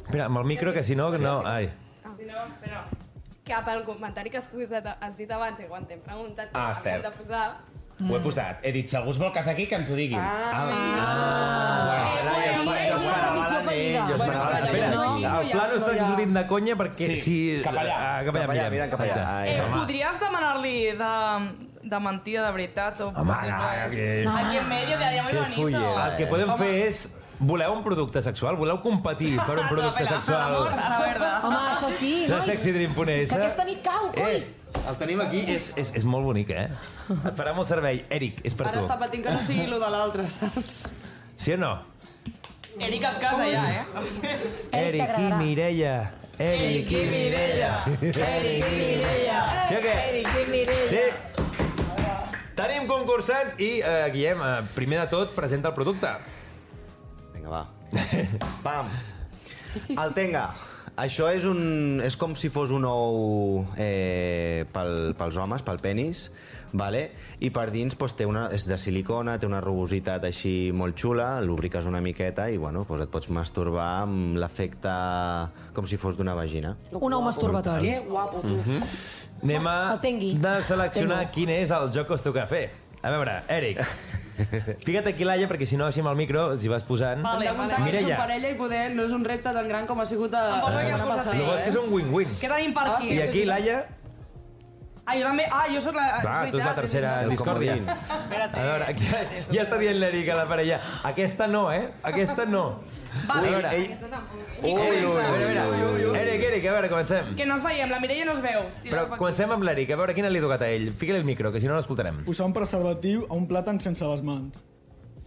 Espera, amb el micro, que si no... que no ai. Que pel comentari que has, posat, has dit abans, que quan t'hem preguntat Ah, que cert. de posar... Ho he posat. He dit, si algú es vol casar aquí, que ens ho diguin. Ah, Sí, és una petició fallida. Espera, Espera, espera. els planos estan sortint de conya perquè... Sí, cap allà. Ah, cap allà, Ah. Cap allà, mirant, mirant cap allà. Exacte. Ai, Eh, Home. podries demanar-li de, de mentida, de veritat? O Home, ara, que- Aquí en medio quedaria muy Que bonito. fullera, El que podem fer és... Voleu un producte sexual? Voleu competir per un producte sexual? Home, això sí, La nois. sexy dream ponesa. Que aquesta nit cau, coi! Eh, el tenim aquí, és, és, és molt bonic, eh? Et farà molt servei. Eric, és per Ara tu. està patint que no sigui lo de l'altre, saps? Sí o no? Eric es casa ja, eh? Eric i Mireia. Eric i Mireia. Eric i Mireia. Sí o què? Eric i Mireia. Sí. Tenim concursants i, eh, Guillem, eh, primer de tot, presenta el producte. Vinga, va. Pam. El tenga. Això és, un, és com si fos un ou eh, pel, pels homes, pel penis, vale? i per dins doncs, té una, és de silicona, té una rugositat així molt xula, lubriques una miqueta i bueno, doncs et pots masturbar amb l'efecte com si fos d'una vagina. Un home masturbatori. Que guapo, tu. Mhm. Anem a Ah, El tengui. de seleccionar Tengo. quin és el joc que us toca fer. A veure, Eric, fica't aquí, Laia, perquè si no, així amb el micro els hi vas posant. Vale, Hem de comptar que som Mireia, parella i poder no és un repte tan gran com ha sigut a... Em posa la que setmana em posa passada, eh? el bo és que és un win-win. Què tenim per aquí? I aquí, Laia, Ah, jo també... Ah, jo sóc la... és clar, tu ets la veritat. tercera discòrdia. Espera't. A veure, aquí, ja està dient l'Eric a la parella. Aquesta no, eh? Aquesta no. Vale. A veure, Ui, Ui, ui, ui, a veure, ui, ui. Eric, Eric, a veure, comencem. Que no ens veiem, la Mireia no es veu. Tira Però cap aquí. comencem amb l'Eric, a veure quina li ha tocat a ell. Fica-li el micro, que si no, no l'escoltarem. Posar un preservatiu a un plàtan sense les mans.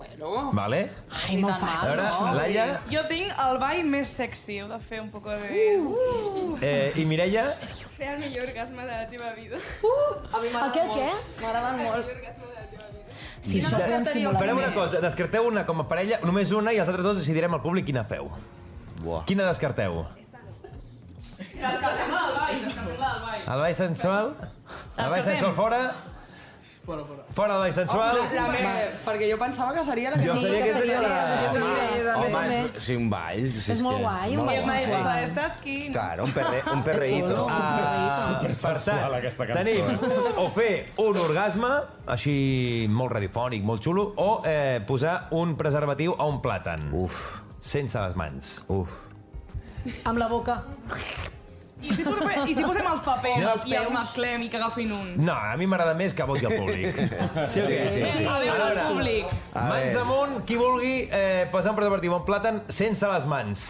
Bueno... Vale? Ai, molt fàcil. A veure, no? Laia Jo tinc el ball més sexy, heu de fer un poc de... uh. eh, i Mireia... Fer el millor orgasme de la teva vida. Uh! A mi El què, el què? M'agraden molt. Sí, això és ben simulat. Farem una cosa, descarteu una com a parella, només una, i els altres dos decidirem al públic quina feu. Buah. Quina descarteu? Descartem la del ball, descartem la del ball. El ball sensual? El ball Descartem. sensual fora? Fora el ball sensual? Home, la me- perquè jo pensava que seria la que Jo sabia que seria la... Home, és, sí, un ball. Sí, És molt que- guai, un molt ball guai. Una cosa sensual. d'estes que... Claro, un, perre, un perreíto. Ah, per tant, aquesta cançó, eh? tenim o fer un orgasme, així molt radiofònic, molt xulo, o eh, posar un preservatiu a un plàtan. Uf, Sense les mans. uf. Amb la boca. I si, posem, I si posem els papers No, els i els peus. mesclem i que agafin un? No, a mi m'agrada més que voti el públic. Sí, sí, sí. Sí. A veure, el públic. A Mans veure. amunt, qui vulgui eh, posar un preservatiu en plàtan sense les mans.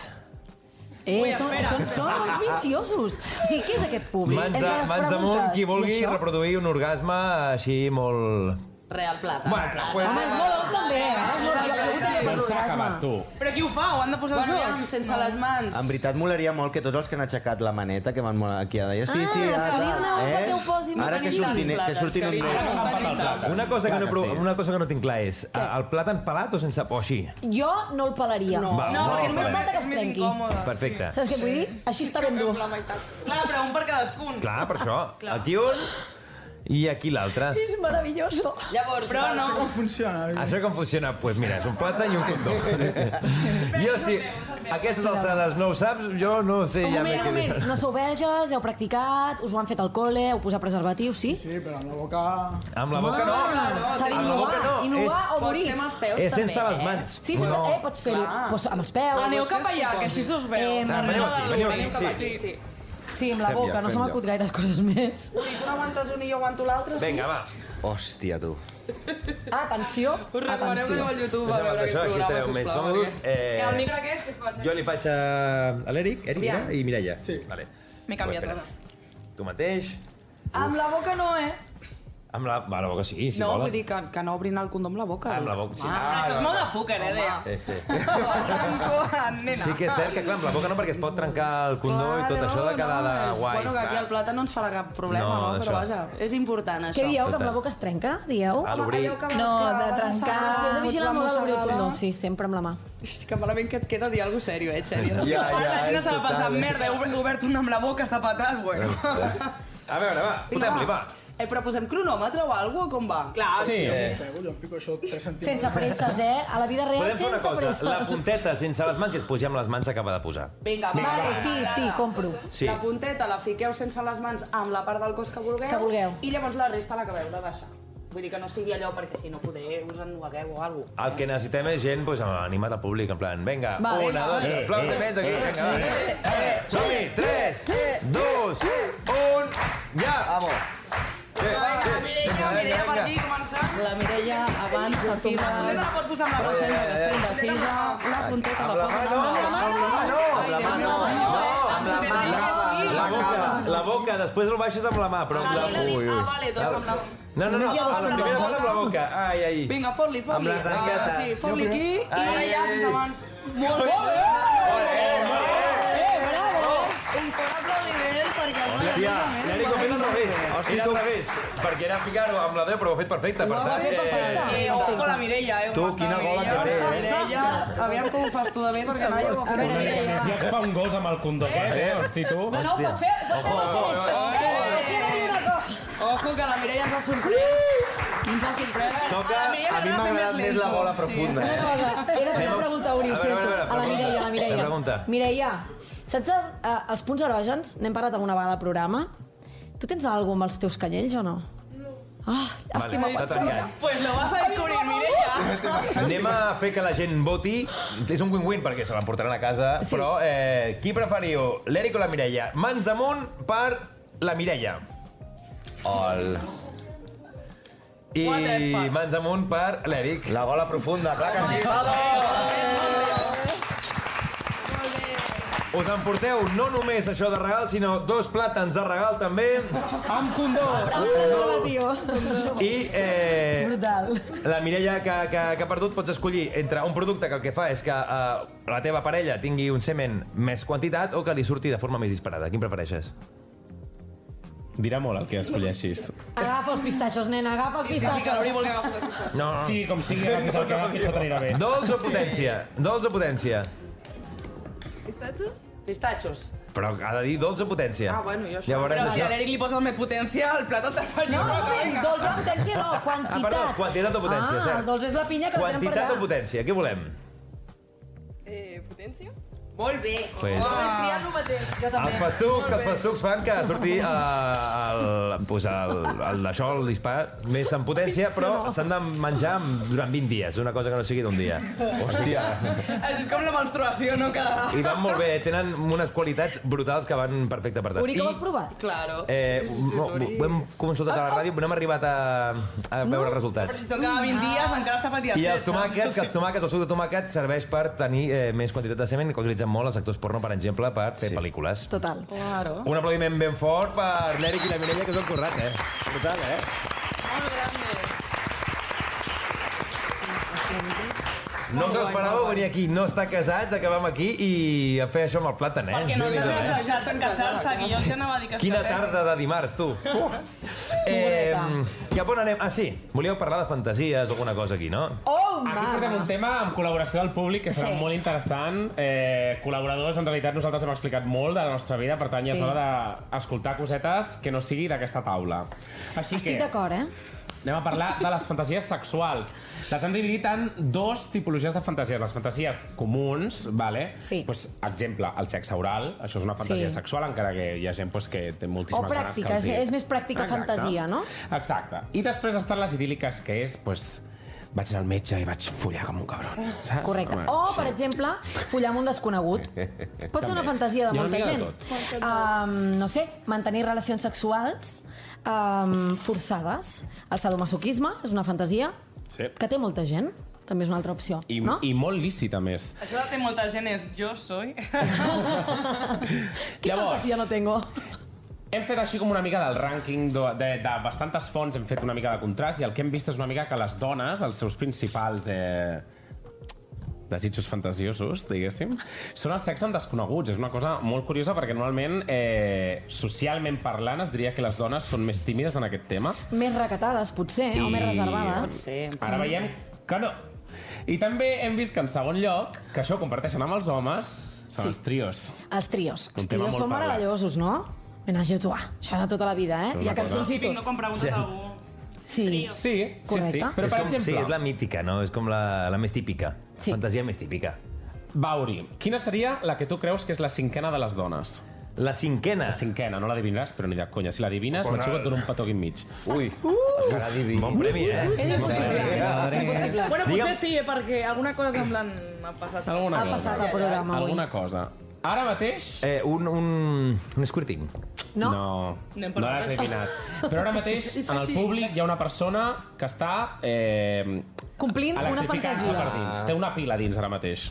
Eh, són, són, són molts viciosos. O sigui, què és aquest públic? Mans, Entre les mans amunt, preguntes qui i vulgui això? reproduir un orgasme així molt... Real plata. Bueno, pues... Home, és Ah, molt ample, també, eh? És molt ample. Jo volia un Doncs s'ha orgasme. acabat, tu. Però qui ho fa? Ho han de posar els Bueno, dos? aviam, sense les mans. En veritat, molaria molt que tots els que han aixecat la maneta, que van molt aquí a deia, Ah, sí, sí, doncs les ara, Eh? Carina, perquè ho posin, ara no que tenim surtin, tantes que plates, surtin un Carina. dret. Una cosa, que no, Clar que provo- sí. una cosa que no tinc clar és, a- el plàtan pelat o sense o així? Jo Oh. no el pelaria. No. Va, Ah, No, no, perquè vale. només falta que És es més trenqui. incòmode, Perfecte. Saps què vull dir? Així està ben dur. Clar, però un per cadascun. Clar, per això. Aquí un i aquí l'altre. És meravelloso. Llavors, Però val, no. Com funciona? Això com funciona? Doncs pues mira, és un plàtan i un condó. jo sí, a aquestes alçades no ho saps, jo no ho sé. Un moment, m'he un moment. quedat. No sou veges, heu practicat, us ho han fet al col·le, heu posat preservatiu, sí? Sí, però amb la boca... Amb la boca no. Home, no, S'ha amb la boca d'innovar, no, innovar és- o pot morir. ser amb els peus, És també, sense les eh? mans. Sí, sí, eh, pots fer-ho Clar. pues, amb els peus. Aneu vostès cap allà, proposen. que així se us veu. Eh, Ah, veniu aquí, veniu Veniu cap aquí. aquí, Sí. sí. Sí, amb la Fem boca, ja, no fem se m'ha ja. acut gaires coses més. Uri, tu n'aguantes un i jo aguanto l'altre, sí? Vinga, va. Hòstia, tu. Atenció, Us recomaneu que atenció. aneu al YouTube a Deixa'm veure aquest això, així programa, estareu més sisplau. còmodes. perquè- Que el Eh, micro aquest, que es pot... jo li faig a, a l'Eric, Eric Aviam. era? i Mireia. Sí. Vale. M'he canviat Espera. ara. Tu mateix. Amb la boca no, eh? Amb la, va, la boca sí, si No, volen. vull dir que, que no obrin el condó amb la boca. Amb la boca sí. Ah, això és molt de fucker, eh, Dea? Sí, sí. Nena. Sí que és cert que, clar, amb la boca no, perquè es pot trencar el condó i tot això de quedar de és- guais. Bueno, que aquí clar. el plata no ens farà cap problema, No, no? no? això. Però vaja, és important, això. Què dieu, que amb Total. la boca es trenca? Dieu? A l'obrir... Allò que vas No, que de vas Ah, trencar, assajar, S'ha de fots vigilar la molt a l'obrir el mossegada. condó, sí, sempre amb la mà. Ix, Que malament que et queda dir alguna cosa sèrio, eh, Xèria? Ja, Ara la gent ja, estava pensant, merda, he obert- he obert una amb la boca, està patat, bueno. A veure, va, fotem-li, va. Eh, però posem cronòmetre o alguna cosa, com va? Clar, Sí, Jo fego, jo em fico això 3 centímetres. Sense presses, eh? A la vida real, Podem fer una sense cosa, presses. la punteta sense les mans i es posem les mans acaba de posar. Vinga, va. Vale, Ah, sí, sí, compro. Sí. La punteta la fiqueu sense les mans amb la part del cos que vulgueu. Que vulgueu. I llavors la resta l'acabeu de deixar. Vull dir que no sigui allò perquè si no poder us ennuegueu o alguna cosa. El que necessitem és gent pues, animat al públic, en plan, vinga, Va, una, vinga, dos, va. tres, aplaus de menys aquí, vinga, va. Som-hi, tres, dos, un, ja! Vamos! Mireia, per aquí, començar. La Mireia abans s'afirma... No la pot posar amb la Ah, mà. Present que està indecisa, la punteta la posa amb la mà. Amb la mà no! Amb la mà no! Amb la mà no! La boca, la boca, després el baixes amb la mà, però amb la... Ui, ui. Ah, vale, doncs amb la... No, no, no, Només hi ha dos a la primera part amb la boca. Ai, ai. Vinga, fot-li, fot-li. Amb les Ah, tanquetes. sí, fot-li aquí i... Ai, ai, ai. sense mans. Molt bé! Molt Un fort aplaudiment perquè... Hòstia, l'Eric ho ha fet al revés. Era al revés, perquè era ficar-ho amb la 10, però ho ha fet perfecte, per tant... Eh, ojo a la Mireia, eh? Tu, quina gola que té, eh? Mireia, aviam com ho fas tu de bé, perquè no hi ho A veure, més ja et fa un gos amb el condó, eh? Hosti, tu. No, no, ho pots fer, pots fer Ojo, dos ojo, ojo. Eh, Ojo, que la Mireia ens ha sorprès. Ens ha sorprès. Toca... A mi m'ha agradat més la bola profunda, eh? Una cosa, he de fer una pregunta a Uri, ho A veure, a sento. veure, A la Mireia, a pregunta. la Mireia. La pregunta. Mireia, saps el, eh, els punts erògens? N'hem parlat alguna vegada al programa. Tu tens alguna amb els teus canyells o no? Ah, Vale, estima... t'ha tancat. Pues lo vas a descobrir, Mireia. Anem a fer que la gent voti. És un win-win perquè se l'emportaran a casa. Sí. Però eh, qui preferiu, l'Eric o la Mireia? Mans amunt per la Mireia. Ol. I mans amunt per l'Eric. La bola profunda, clar que sí. Us emporteu no només això de regal, sinó dos plàtans de regal també. Amb condó. I eh, Brutal. La Mireia que, que, que ha perdut pots escollir entre un producte que el que fa és que eh, la teva parella tingui un semen més quantitat o que li surti de forma més disparada. Quin prefereixes? Dirà molt el que escolleixis. Agafa els pistatxos, nena, agafa els pistatxos. No. Sí, com sigui, agafis el que agafis, tot anirà bé. Dolç o potència? Dolç o potència? Pistatxos? Pistatxos. Però ha de dir dolç o potència. Ah, bueno, jo Ja veurem Però si això. a l'Eric li posa el meu potencia, el plat et faria No, no, roca, vinga. dolç o potència no, quantitat. Ah, perdó, quantitat o potència, ah, cert. el dolç és la pinya que la tenen per Quantitat allà. o potència? Què volem? Eh, potència? Molt bé. Pues- Ho has triat el mateix, jo també. Els festucs, que els festucs fan que surti eh, el, pues el, el, això, el dispar més en potència, però s'han de menjar en- durant 20 dies, una cosa que no sigui d'un dia. Hòstia. Això és com la menstruació, no? Que... I van molt bé, eh, tenen unes qualitats brutals que van perfecte per tant. Uri, que ho has provat? Claro. eh, no, ho hem consultat a la ràdio, però no hem arribat a, a veure els Però si resultats. són cada 20 dies, encara està patia I els tomàquets, que els tomàquets, el suc de tomàquet serveix per tenir eh, més quantitat de semen que utilitzen molt els actors porno, per exemple, per fer sí. pel·lícules. Total. Claro. Un aplaudiment ben fort per l'Eric i la Mireia, que s'ho han currat, eh? Brutal, eh? No us esperàveu venir aquí, no estar casats, acabem aquí i a fer això amb el plàtan, eh? Perquè no Déu-n'hi-do, s'ha eh? casat en casar-se, que jo els anava a dir que es Quina casés. tarda de dimarts, tu. Eh, cap on anem? Ah, sí, volíeu parlar de fantasies o alguna cosa aquí, no? Oh, Aquí portem un tema amb col·laboració del públic que serà Sí. molt interessant. Eh, col·laboradors, en realitat, nosaltres hem explicat molt de la nostra vida, per tant, ja és Sí. hora d'escoltar cosetes que no sigui d'aquesta taula. Així Estic que d'acord, eh? anem a parlar de les fantasies sexuals. Les hem dividit en dos tipologies de fantasies. Les fantasies comuns, vale? Sí. Pues, exemple, el sexe oral. Això és una fantasia Sí. sexual, encara que hi ha gent pues, que té O moltíssimes ganes pràctica, que els hi- és- és més pràctica fantasia, no? Exacte. I després estan les idíl·liques, que és, pues, vaig anar al metge i vaig follar com un cabron, saps? Correcte. Home, O, sí. per exemple, follar amb un desconegut. Pot ser una fantasia de Hi ha una molta mica de gent. Um, no sé, mantenir relacions sexuals um, forçades. El sadomasoquisme és una fantasia Sí. que té molta gent. També és una altra opció, I, no? I molt lícita, a més. Això de té molta gent és jo soy. Quina fantasia no tengo? hem fet així com una mica del rànquing de, de, de bastantes fonts, hem fet una mica de contrast i el que hem vist és una mica que les dones, els seus principals eh, desitjos fantasiosos, diguéssim, són el sexe amb desconeguts. És una cosa molt curiosa perquè normalment, eh, socialment parlant, es diria que les dones són més tímides en aquest tema. Més recatades, potser, o més reservades. Ara veiem que no. I també hem vist que, en segon lloc, que això ho comparteixen amb els homes, són Sí. sí. els trios. Els trios. Un Els tema trios molt són parlat. meravellosos, no? Menage tu, ah, això de tota la vida, eh? És Hi una ha cançons cosa- i tot. No, quan preguntes a algú... Sí. Sí, sí, sí. Correcte. Però, és per com, exemple... Sí, és la mítica, no? És com la, la més típica. Sí. Fantasia més típica. Bauri, quina seria la que tu creus que és la cinquena de les dones? La cinquena? La cinquena, no l'adivinaràs, però ni de conya. Si l'adivines, Però Matxu no. et dona un petó aquí enmig. Ui. Uh! Encara diví. Bon premi, eh? És impossible. Madre. Bueno, potser Digue'm- sí, eh, perquè alguna cosa semblant m'ha passat. Alguna cosa. Alguna cosa. Ara mateix... Eh, un, un, un squirting. No No. No, hem no parlat l'has d'això. adivinat. Però ara mateix, en el Sí. públic, hi ha una persona que està... Eh, Complint una electrificant-se fantasia. Per dins. Té una pila dins ara mateix.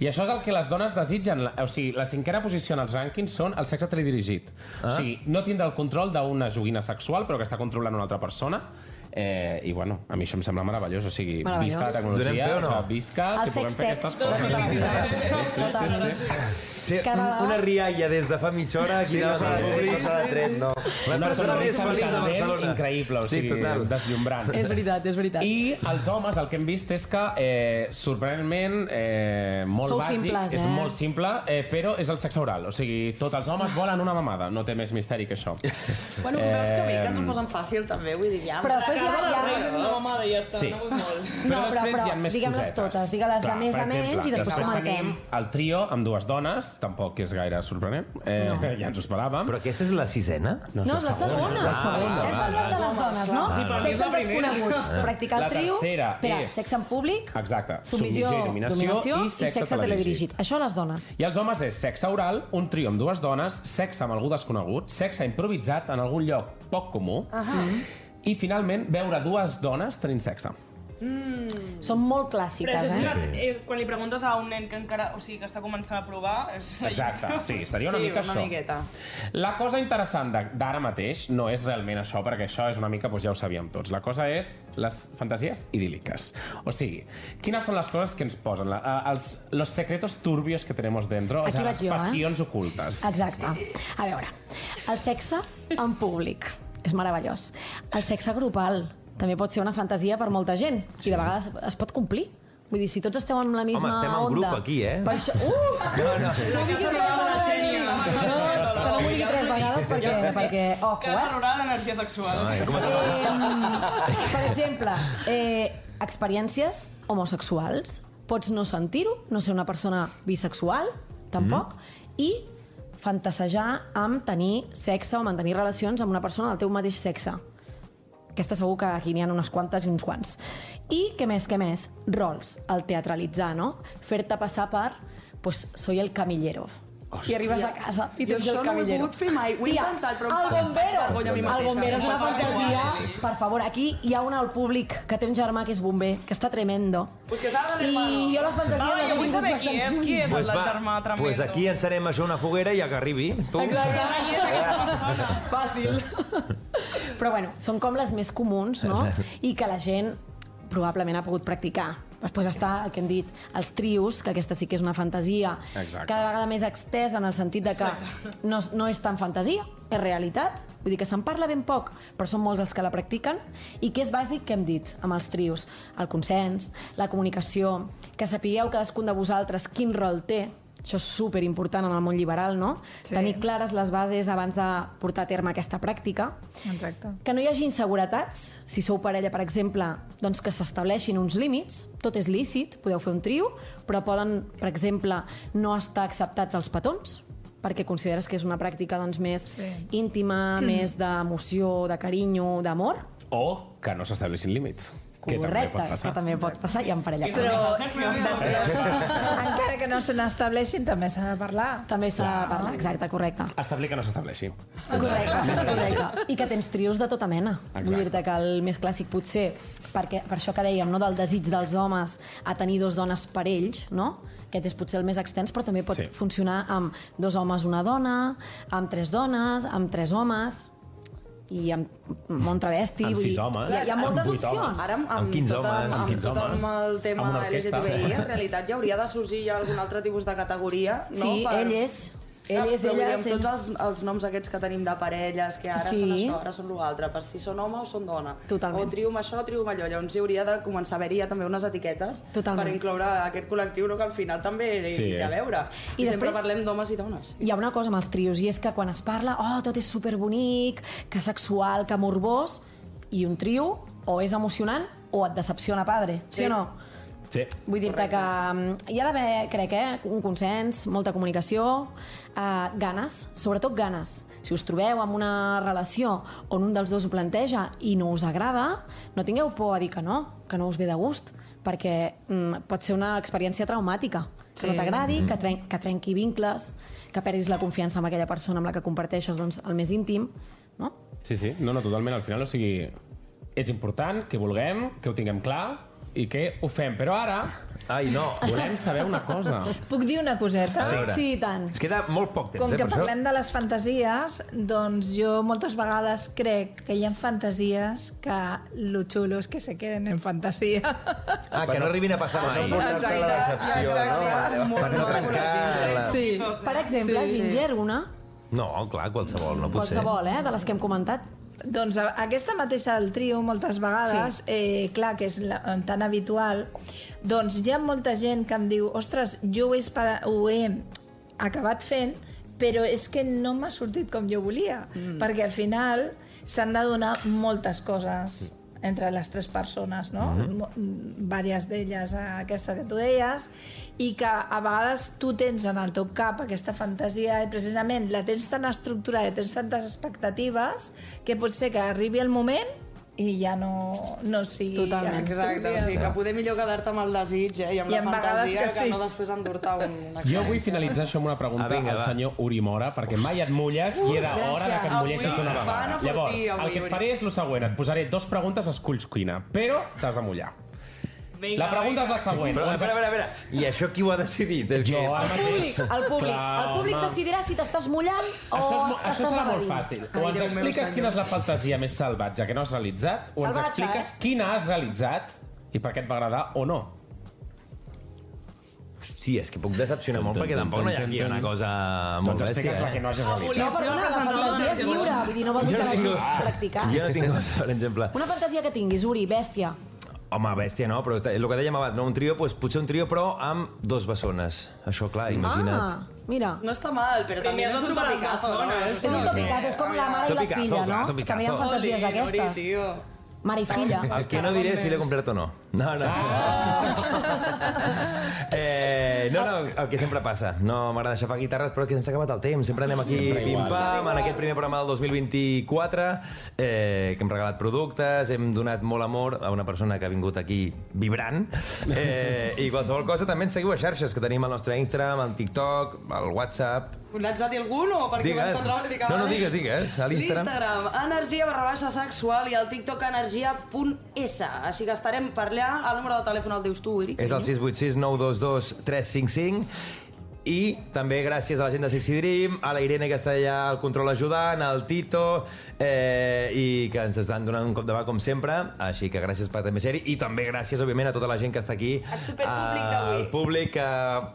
I això és el que les dones desitgen. O sigui, la cinquena posició en els rànquings són el sexe teledirigit. Ah. O sigui, no tindrà el control d'una joguina sexual, però que està controlant una altra persona. Eh, I bueno, a mi això em sembla meravellós. O sigui, Meravellós. visca la Donem tecnologia, fe o no? o sigui, visca El que puguem fer sextet. aquestes coses. Sí, sí, sí, sí. Sí, Cada un- vegada- una rialla des de fa mitja hora aquí Sí, no davant s'ha del de tret, públic. no s'ha de tret, no. La Una persona més sonrisa feliç de brillant, Barcelona. increïble, o Sí, sigui, total. deslumbrant. És veritat, és veritat. I els homes el que hem vist és que, eh, sorprenentment, eh, molt Sou bàsic, simples, és eh? molt simple, eh, però és el sexe oral. O sigui, tots els homes volen una mamada. No té més misteri que això. Bueno, però veus que bé, que ens ho posen fàcil, també, vull dir, ja... Però després hi ha- hi ha- És una mamada i ja està, Sí. no vull molt. Però No, però, després hi ha però més digue-les cosetes. totes, digue-les de Clar, més per a menys i exemple, després comentem. tenim el trio amb dues dones, tampoc és gaire sorprenent, eh, ja ens ho esperàvem. Però aquesta és la sisena? No, és la segona. La segona. Hem parlat de les dones, no? Sí, per mi és Sexe la amb primera. desconeguts. Practicar Eh? La el trio. tercera Espera, és- sexe en públic, Exacte. submissió, dominació, i sexe, teledirigit. Això a les dones. I els homes és sexe oral, un trio amb dues dones, sexe amb algú desconegut, sexe improvisat en algun lloc poc comú, uh -huh. i finalment veure dues dones tenint sexe. Són molt Però clàssiques, això és eh? una, és, quan li preguntes a un nen que encara, o sigui, que està començant a provar... És... Exacte, sí, seria una sí, mica una això. miqueta. La cosa interessant de- d'ara mateix no és realment això, perquè això és una mica, doncs ja ho sabíem tots. La cosa és les fantasies idíl·liques. O sigui, quines són les coses que ens posen? La, eh, els, los secretos turbios que tenemos dentro, o Aquí sigui, vaig les jo, eh? passions ocultes. Exacte. A veure, el sexe en públic és meravellós. El sexe grupal també pot ser una fantasia per molta gent i de vegades es pot complir. Vull dir, si tots esteu en la misma Home, estem en onda... grup aquí, eh? Per això... Uh! No, no. No digui Sí, tres la vegades, Xènia. no, que no m'ho digui tres vegades perquè, perquè Que ojo, és eh? rural d'energia sexual. Ai, com et va? Eh, per exemple, eh, experiències homosexuals. Pots no sentir-ho, no ser una persona bisexual, tampoc, mm. i fantasejar amb tenir sexe o mantenir relacions amb una persona del teu mateix sexe. Aquesta segur que aquí n'hi ha unes quantes i uns quants. I què més, què més? Rols, el teatralitzar, no? Fer-te passar per, pues, soy el camillero. Hòstia. I arribes a casa i Jo tens el això no ho he camillero. pogut fer mai. Ho he Tia, intentat, però em el fa- em faig bombero. vergonya a mi El mateixa. bombero és una Em fa fantasia. vergonya. Per favor, aquí hi ha una al públic que té un germà que és bomber, que està tremendo. Pues que salga el hermano. I jo les fantasies les Ah, jo he vull tingut saber qui és, bastant qui és Pues el va, germà tremendo. pues aquí encenem això a una foguera i a que arribi. Tu. Fàcil. Però bueno, són com les més comuns, no? I que la gent probablement ha pogut practicar. Després està el que hem dit, els trios, que aquesta sí que és una fantasia Exacte. cada vegada més extesa en el sentit de que no, és- no és tan fantasia, és realitat. Vull dir que se'n parla ben poc, però són molts els que la practiquen. I què és bàsic que hem dit amb els trios? El consens, la comunicació, que sapigueu cadascun de vosaltres quin rol té, això és super important en el món liberal, no? Sí. Tenir clares les bases abans de portar a terme aquesta pràctica. Exacte. Que no hi hagi inseguretats, si sou parella, per exemple, doncs que s'estableixin uns límits, tot és lícit, podeu fer un trio, però poden, per exemple, no estar acceptats els petons, perquè consideres que és una pràctica doncs, més sí. Sí. íntima, més d'emoció, de carinyo, d'amor. O que no s'estableixin límits. que també Correcte, pot és que passar. també pot passar i en parella. Però, Sempre de totes, encara que no se n'estableixin, també s'ha de parlar. També s'ha de parlar, exacte, correcte. Establir que no s'estableixi. Correcte, correcte. I que tens trios de tota mena. Exacte. Vull dir-te que el més clàssic potser, perquè, per això que dèiem, no, del desig dels homes a tenir dos dones per ells, no? aquest és potser el més extens, però també pot Sí. sí. funcionar amb dos homes, una dona, amb tres dones, amb tres homes, i amb món travesti. Amb vull sis dir, homes. Hi ha, hi ha Amb moltes vuit homes. opcions. Ara, amb, Amb amb, 15 tot, homes, amb amb, amb, 15 tot homes, amb el tema amb una orquestra. LGTBI, en realitat ja hauria de sorgir ja algun altre tipus de categoria, no? Sí, ell és... Ell és, però vull dir, ella és, amb tots els, els noms aquests que tenim de parelles, que ara Sí. són això, ara són l'altre, per si són home o són dona. Totalment. O triom això, triom allò. Llavors hi hauria de començar a haver-hi ja també unes etiquetes Totalment. per incloure aquest col·lectiu, no? que al final també Sí, sí, hi ha a eh? veure. I I, sempre després- parlem d'homes i dones. Hi ha una cosa amb els trios, i és que quan es parla, oh, tot és superbonic, que sexual, que morbós, i un trio o és emocionant o et decepciona padre, sí, Sí. o no? Sí. Vull dir-te que mm, hi ha d'haver, crec, eh, un consens, molta comunicació, eh, ganes, sobretot ganes. Si us trobeu en una relació on un dels dos ho planteja i no us agrada, no tingueu por a dir que no, que no us ve de gust, perquè mm, pot ser una experiència traumàtica. Sí, Que no t'agradi, sí, que, sí. tren que trenqui vincles, que perdis la confiança amb aquella persona amb la que comparteixes doncs, el més íntim. Sí, sí, no, no, totalment. Al final, o sigui, és important que vulguem, que ho tinguem clar i que ho fem. Però ara... Ai, no. Volem saber una cosa. Puc dir una coseta? sí, i tant. Es queda molt poc temps, Ah, Com eh, que per parlem de les fantasies, doncs jo moltes vegades crec que hi ha fantasies que lo xulo és que se queden en fantasia. això. Ah, que no arribin a passar mai. Molt, Per no trencar-la. Sí. Per exemple, Sí. sí. Ginger, una, No, clar, qualsevol, no pot ser. qualsevol, eh, de les que hem comentat. Doncs a- aquesta mateixa del trio, moltes vegades, sí. eh, clar, que és la, tan habitual, doncs hi ha molta gent que em diu ostres, jo ho he, espera- ho he acabat fent, però és que no m'ha sortit com jo volia, mm. perquè al final s'han de donar moltes coses entre les tres persones, no? Mhm. Mm vàries d'elles eh, aquesta que tu deies i que a vegades tu tens en el teu cap aquesta fantasia i precisament la tens tan estructurada i tens tantes expectatives que pot ser que arribi el moment i ja no, no sigui... Totalment, el que tu exacte. O volies. sigui, que poder millor quedar-te amb el desig eh, i amb I la en vegades fantasia que que, sí. no després endur-te un... una Jo vull experiència. finalitzar això amb una pregunta Ah, vinga, al va. senyor Uri Mora, perquè mai et mulles i era Gràcies. hora de que et Avui mullessis d'una van a vegada. per Llavors, ti, avui, el que Uri. et faré és el següent. Et posaré dos preguntes, esculls cuina, però t'has de mullar. Vinga, la pregunta és la següent. Però, espera, espera, espera. I això qui ho ha decidit? És jo, ara El públic, el públic, Clar, el públic home. decidirà si t'estàs mullant o Això, és, mo- t'estàs això serà molt evadint. fàcil. O ens expliques quina és la fantasia més salvatge que no has realitzat, o ens Salvatge, expliques eh? quina has realitzat i per què et va agradar o no. Doncs Sí, és que puc decepcionar molt perquè tampoc no hi ha aquí una cosa molt Doncs bèstia. expliques la eh? que no hagis realitzat. No, però una, la fantasia és lliure, vull dir, no vol dir Jo que no tinc l'hagis gos. practicat. Jo no tinc gos, per exemple. Una fantasia que tinguis, Uri, bèstia. Home, bèstia, no, però és el que dèiem abans, no? un trio, doncs, potser un trio, però amb dos bessones. Això, clar, imagina't. Ah, mira. No està mal, però també Primer no és un no trobaràs topicazo, no? persona, És un topicazo, és com la mare i la Topicazo, filla, clar, no? Que topicazo. També hi ha fantasies eh? Oli, Nori, d'aquestes. Mare i filla. El que no diré és si l'he comprat o no. No, no. Eh, no, no, el que sempre passa. No m'agrada aixafar guitarres, però és que se'ns ha acabat el temps. Sempre anem aquí Sempre igual. pim-pam, en aquest primer programa del 2024, eh, que hem regalat productes, hem donat molt amor a una persona que ha vingut aquí vibrant. Eh, I qualsevol cosa també ens seguiu a xarxes, que tenim el nostre Instagram, el TikTok, el WhatsApp... N'has de dir algun o perquè Digues. ho has d'enregar? No, no, digues, digues, a l'Instagram. L'Instagram, energia barra baixa sexual i el TikTok energia.s. Així que estarem per allà. El número de telèfon el dius tu, Uri. És el 686 922 355 i també gràcies a la gent de Sexy Dream, a la Irene que està allà al control ajudant, al Tito, eh, i que ens estan donant un cop de mà com sempre, així que gràcies per també ser-hi, i també gràcies, òbviament, a tota la gent que està aquí, Al superpúblic d'avui. al públic que,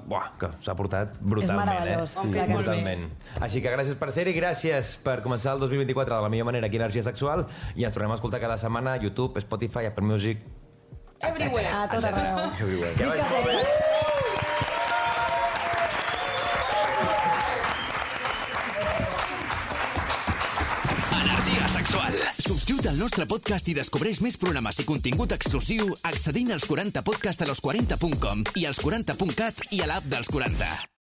buah, que s'ha portat brutalment. meravellós, eh? Ho han fet molt bé. brutalment. Així que gràcies per ser-hi, gràcies per començar el 2024 de la millor manera aquí a Energia Sexual, i ens tornem a escoltar cada setmana a YouTube, Spotify, Apple Music... Everywhere. A tot arreu. Everywhere. Que Fins vagi que molt bé. Energia sexual. Subscriu't al nostre podcast i descobreix més programes i contingut exclusiu accedint als 40podcastalos40.com i als 40.cat i a l'app dels 40.